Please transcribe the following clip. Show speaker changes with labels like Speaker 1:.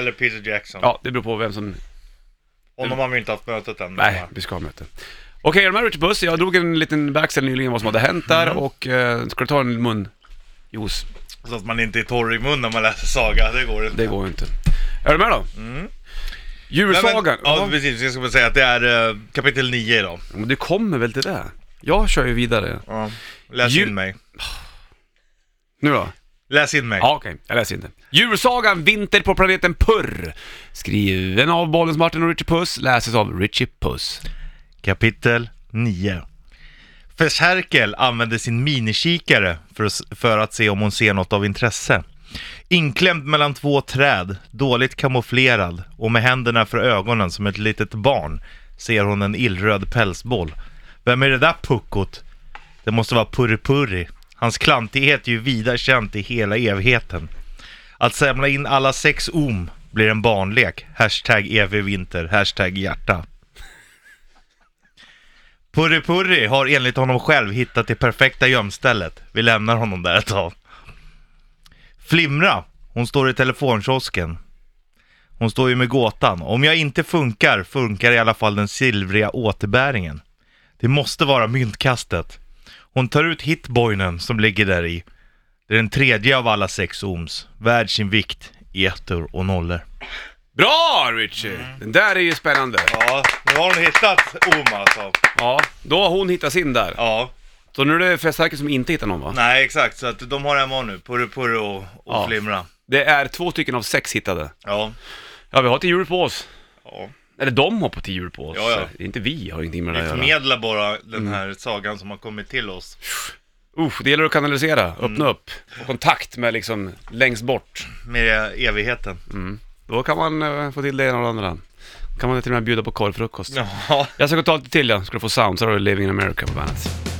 Speaker 1: Eller Peter Jackson.
Speaker 2: Ja, det beror på vem som...
Speaker 1: Honom har vi inte haft mötet än. liksom.
Speaker 2: Nej, vi ska ha möte. Okej, de här Richard Puss, jag drog en liten backsel nyligen vad som hade hänt där
Speaker 1: Mm.
Speaker 2: och eh, ska du ta en munjuice?
Speaker 1: Så att man inte är torr i munnen när man läser saga, det går inte.
Speaker 2: Det går ju inte. Är du med då? Djursagan.
Speaker 1: Mm. Nej, men, ja,
Speaker 2: Ja,
Speaker 1: precis. Jag ska bara säga att det är eh, kapitel 9 idag.
Speaker 2: men du kommer väl till det? Jag kör ju vidare.
Speaker 1: Ja. Läs
Speaker 2: Djur-
Speaker 1: in mig.
Speaker 2: Nu då?
Speaker 1: Läs in mig.
Speaker 2: Ja, okej. Jag läser inte. Djursagan Vinter på planeten Purr. Skriven av Bollens Martin och Richie Puss. Läses av Richie Puss.
Speaker 1: Kapitel 9 Ferserkel använder sin minikikare för, att- för att se om hon ser något av intresse. Inklämd mellan två träd, dåligt kamouflerad och med händerna för ögonen som ett litet barn ser hon en illröd pälsboll. Vem är det där puckot? Det måste vara Puripuri. Hans klantighet är ju vida känt i hela evigheten. Att samla in alla sex om blir en barnlek. Hashtag evigvinter, hashtag hjärta. Purri Purri har enligt honom själv hittat det perfekta gömstället. Vi lämnar honom där ett tag. Flimra, hon står i telefonkiosken. Hon står ju med gåtan. Om jag inte funkar, funkar i alla fall den silvriga återbäringen. Det måste vara myntkastet. Hon tar ut hitboinen som ligger där i. Det är den tredje av alla sex oms. Värd sin vikt, ettor och nollor.
Speaker 2: Bra Richie!
Speaker 1: Mm.
Speaker 2: Den där är ju spännande.
Speaker 1: Ja, nu har hon hittat om alltså.
Speaker 2: Ja, då har hon hittat sin där.
Speaker 1: Ja.
Speaker 2: Så nu är det Fästverket som inte hittar någon va?
Speaker 1: Nej, exakt. Så att de har en var nu. Purre Purre och, och
Speaker 2: Ja.
Speaker 1: Flimra.
Speaker 2: Det är två stycken av sex hittade.
Speaker 1: Ja.
Speaker 2: Ja, vi har till jul på oss.
Speaker 1: ja.
Speaker 2: Eller de har på till jul på oss.
Speaker 1: Ja, ja.
Speaker 2: Det är Inte vi har ingenting med det
Speaker 1: Vi
Speaker 2: här att göra.
Speaker 1: förmedlar bara den här sagan som har kommit till oss.
Speaker 2: Usch, det gäller att kanalisera,
Speaker 1: Mm.
Speaker 2: öppna upp, få kontakt med liksom längst bort.
Speaker 1: Med evigheten.
Speaker 2: Då kan man eh, få till det ena och det andra. kan man till och med bjuda på korvfrukost.
Speaker 1: Ja.
Speaker 2: Jag ska ta lite till ja, ska du få sound, så har du Living in America på bandet.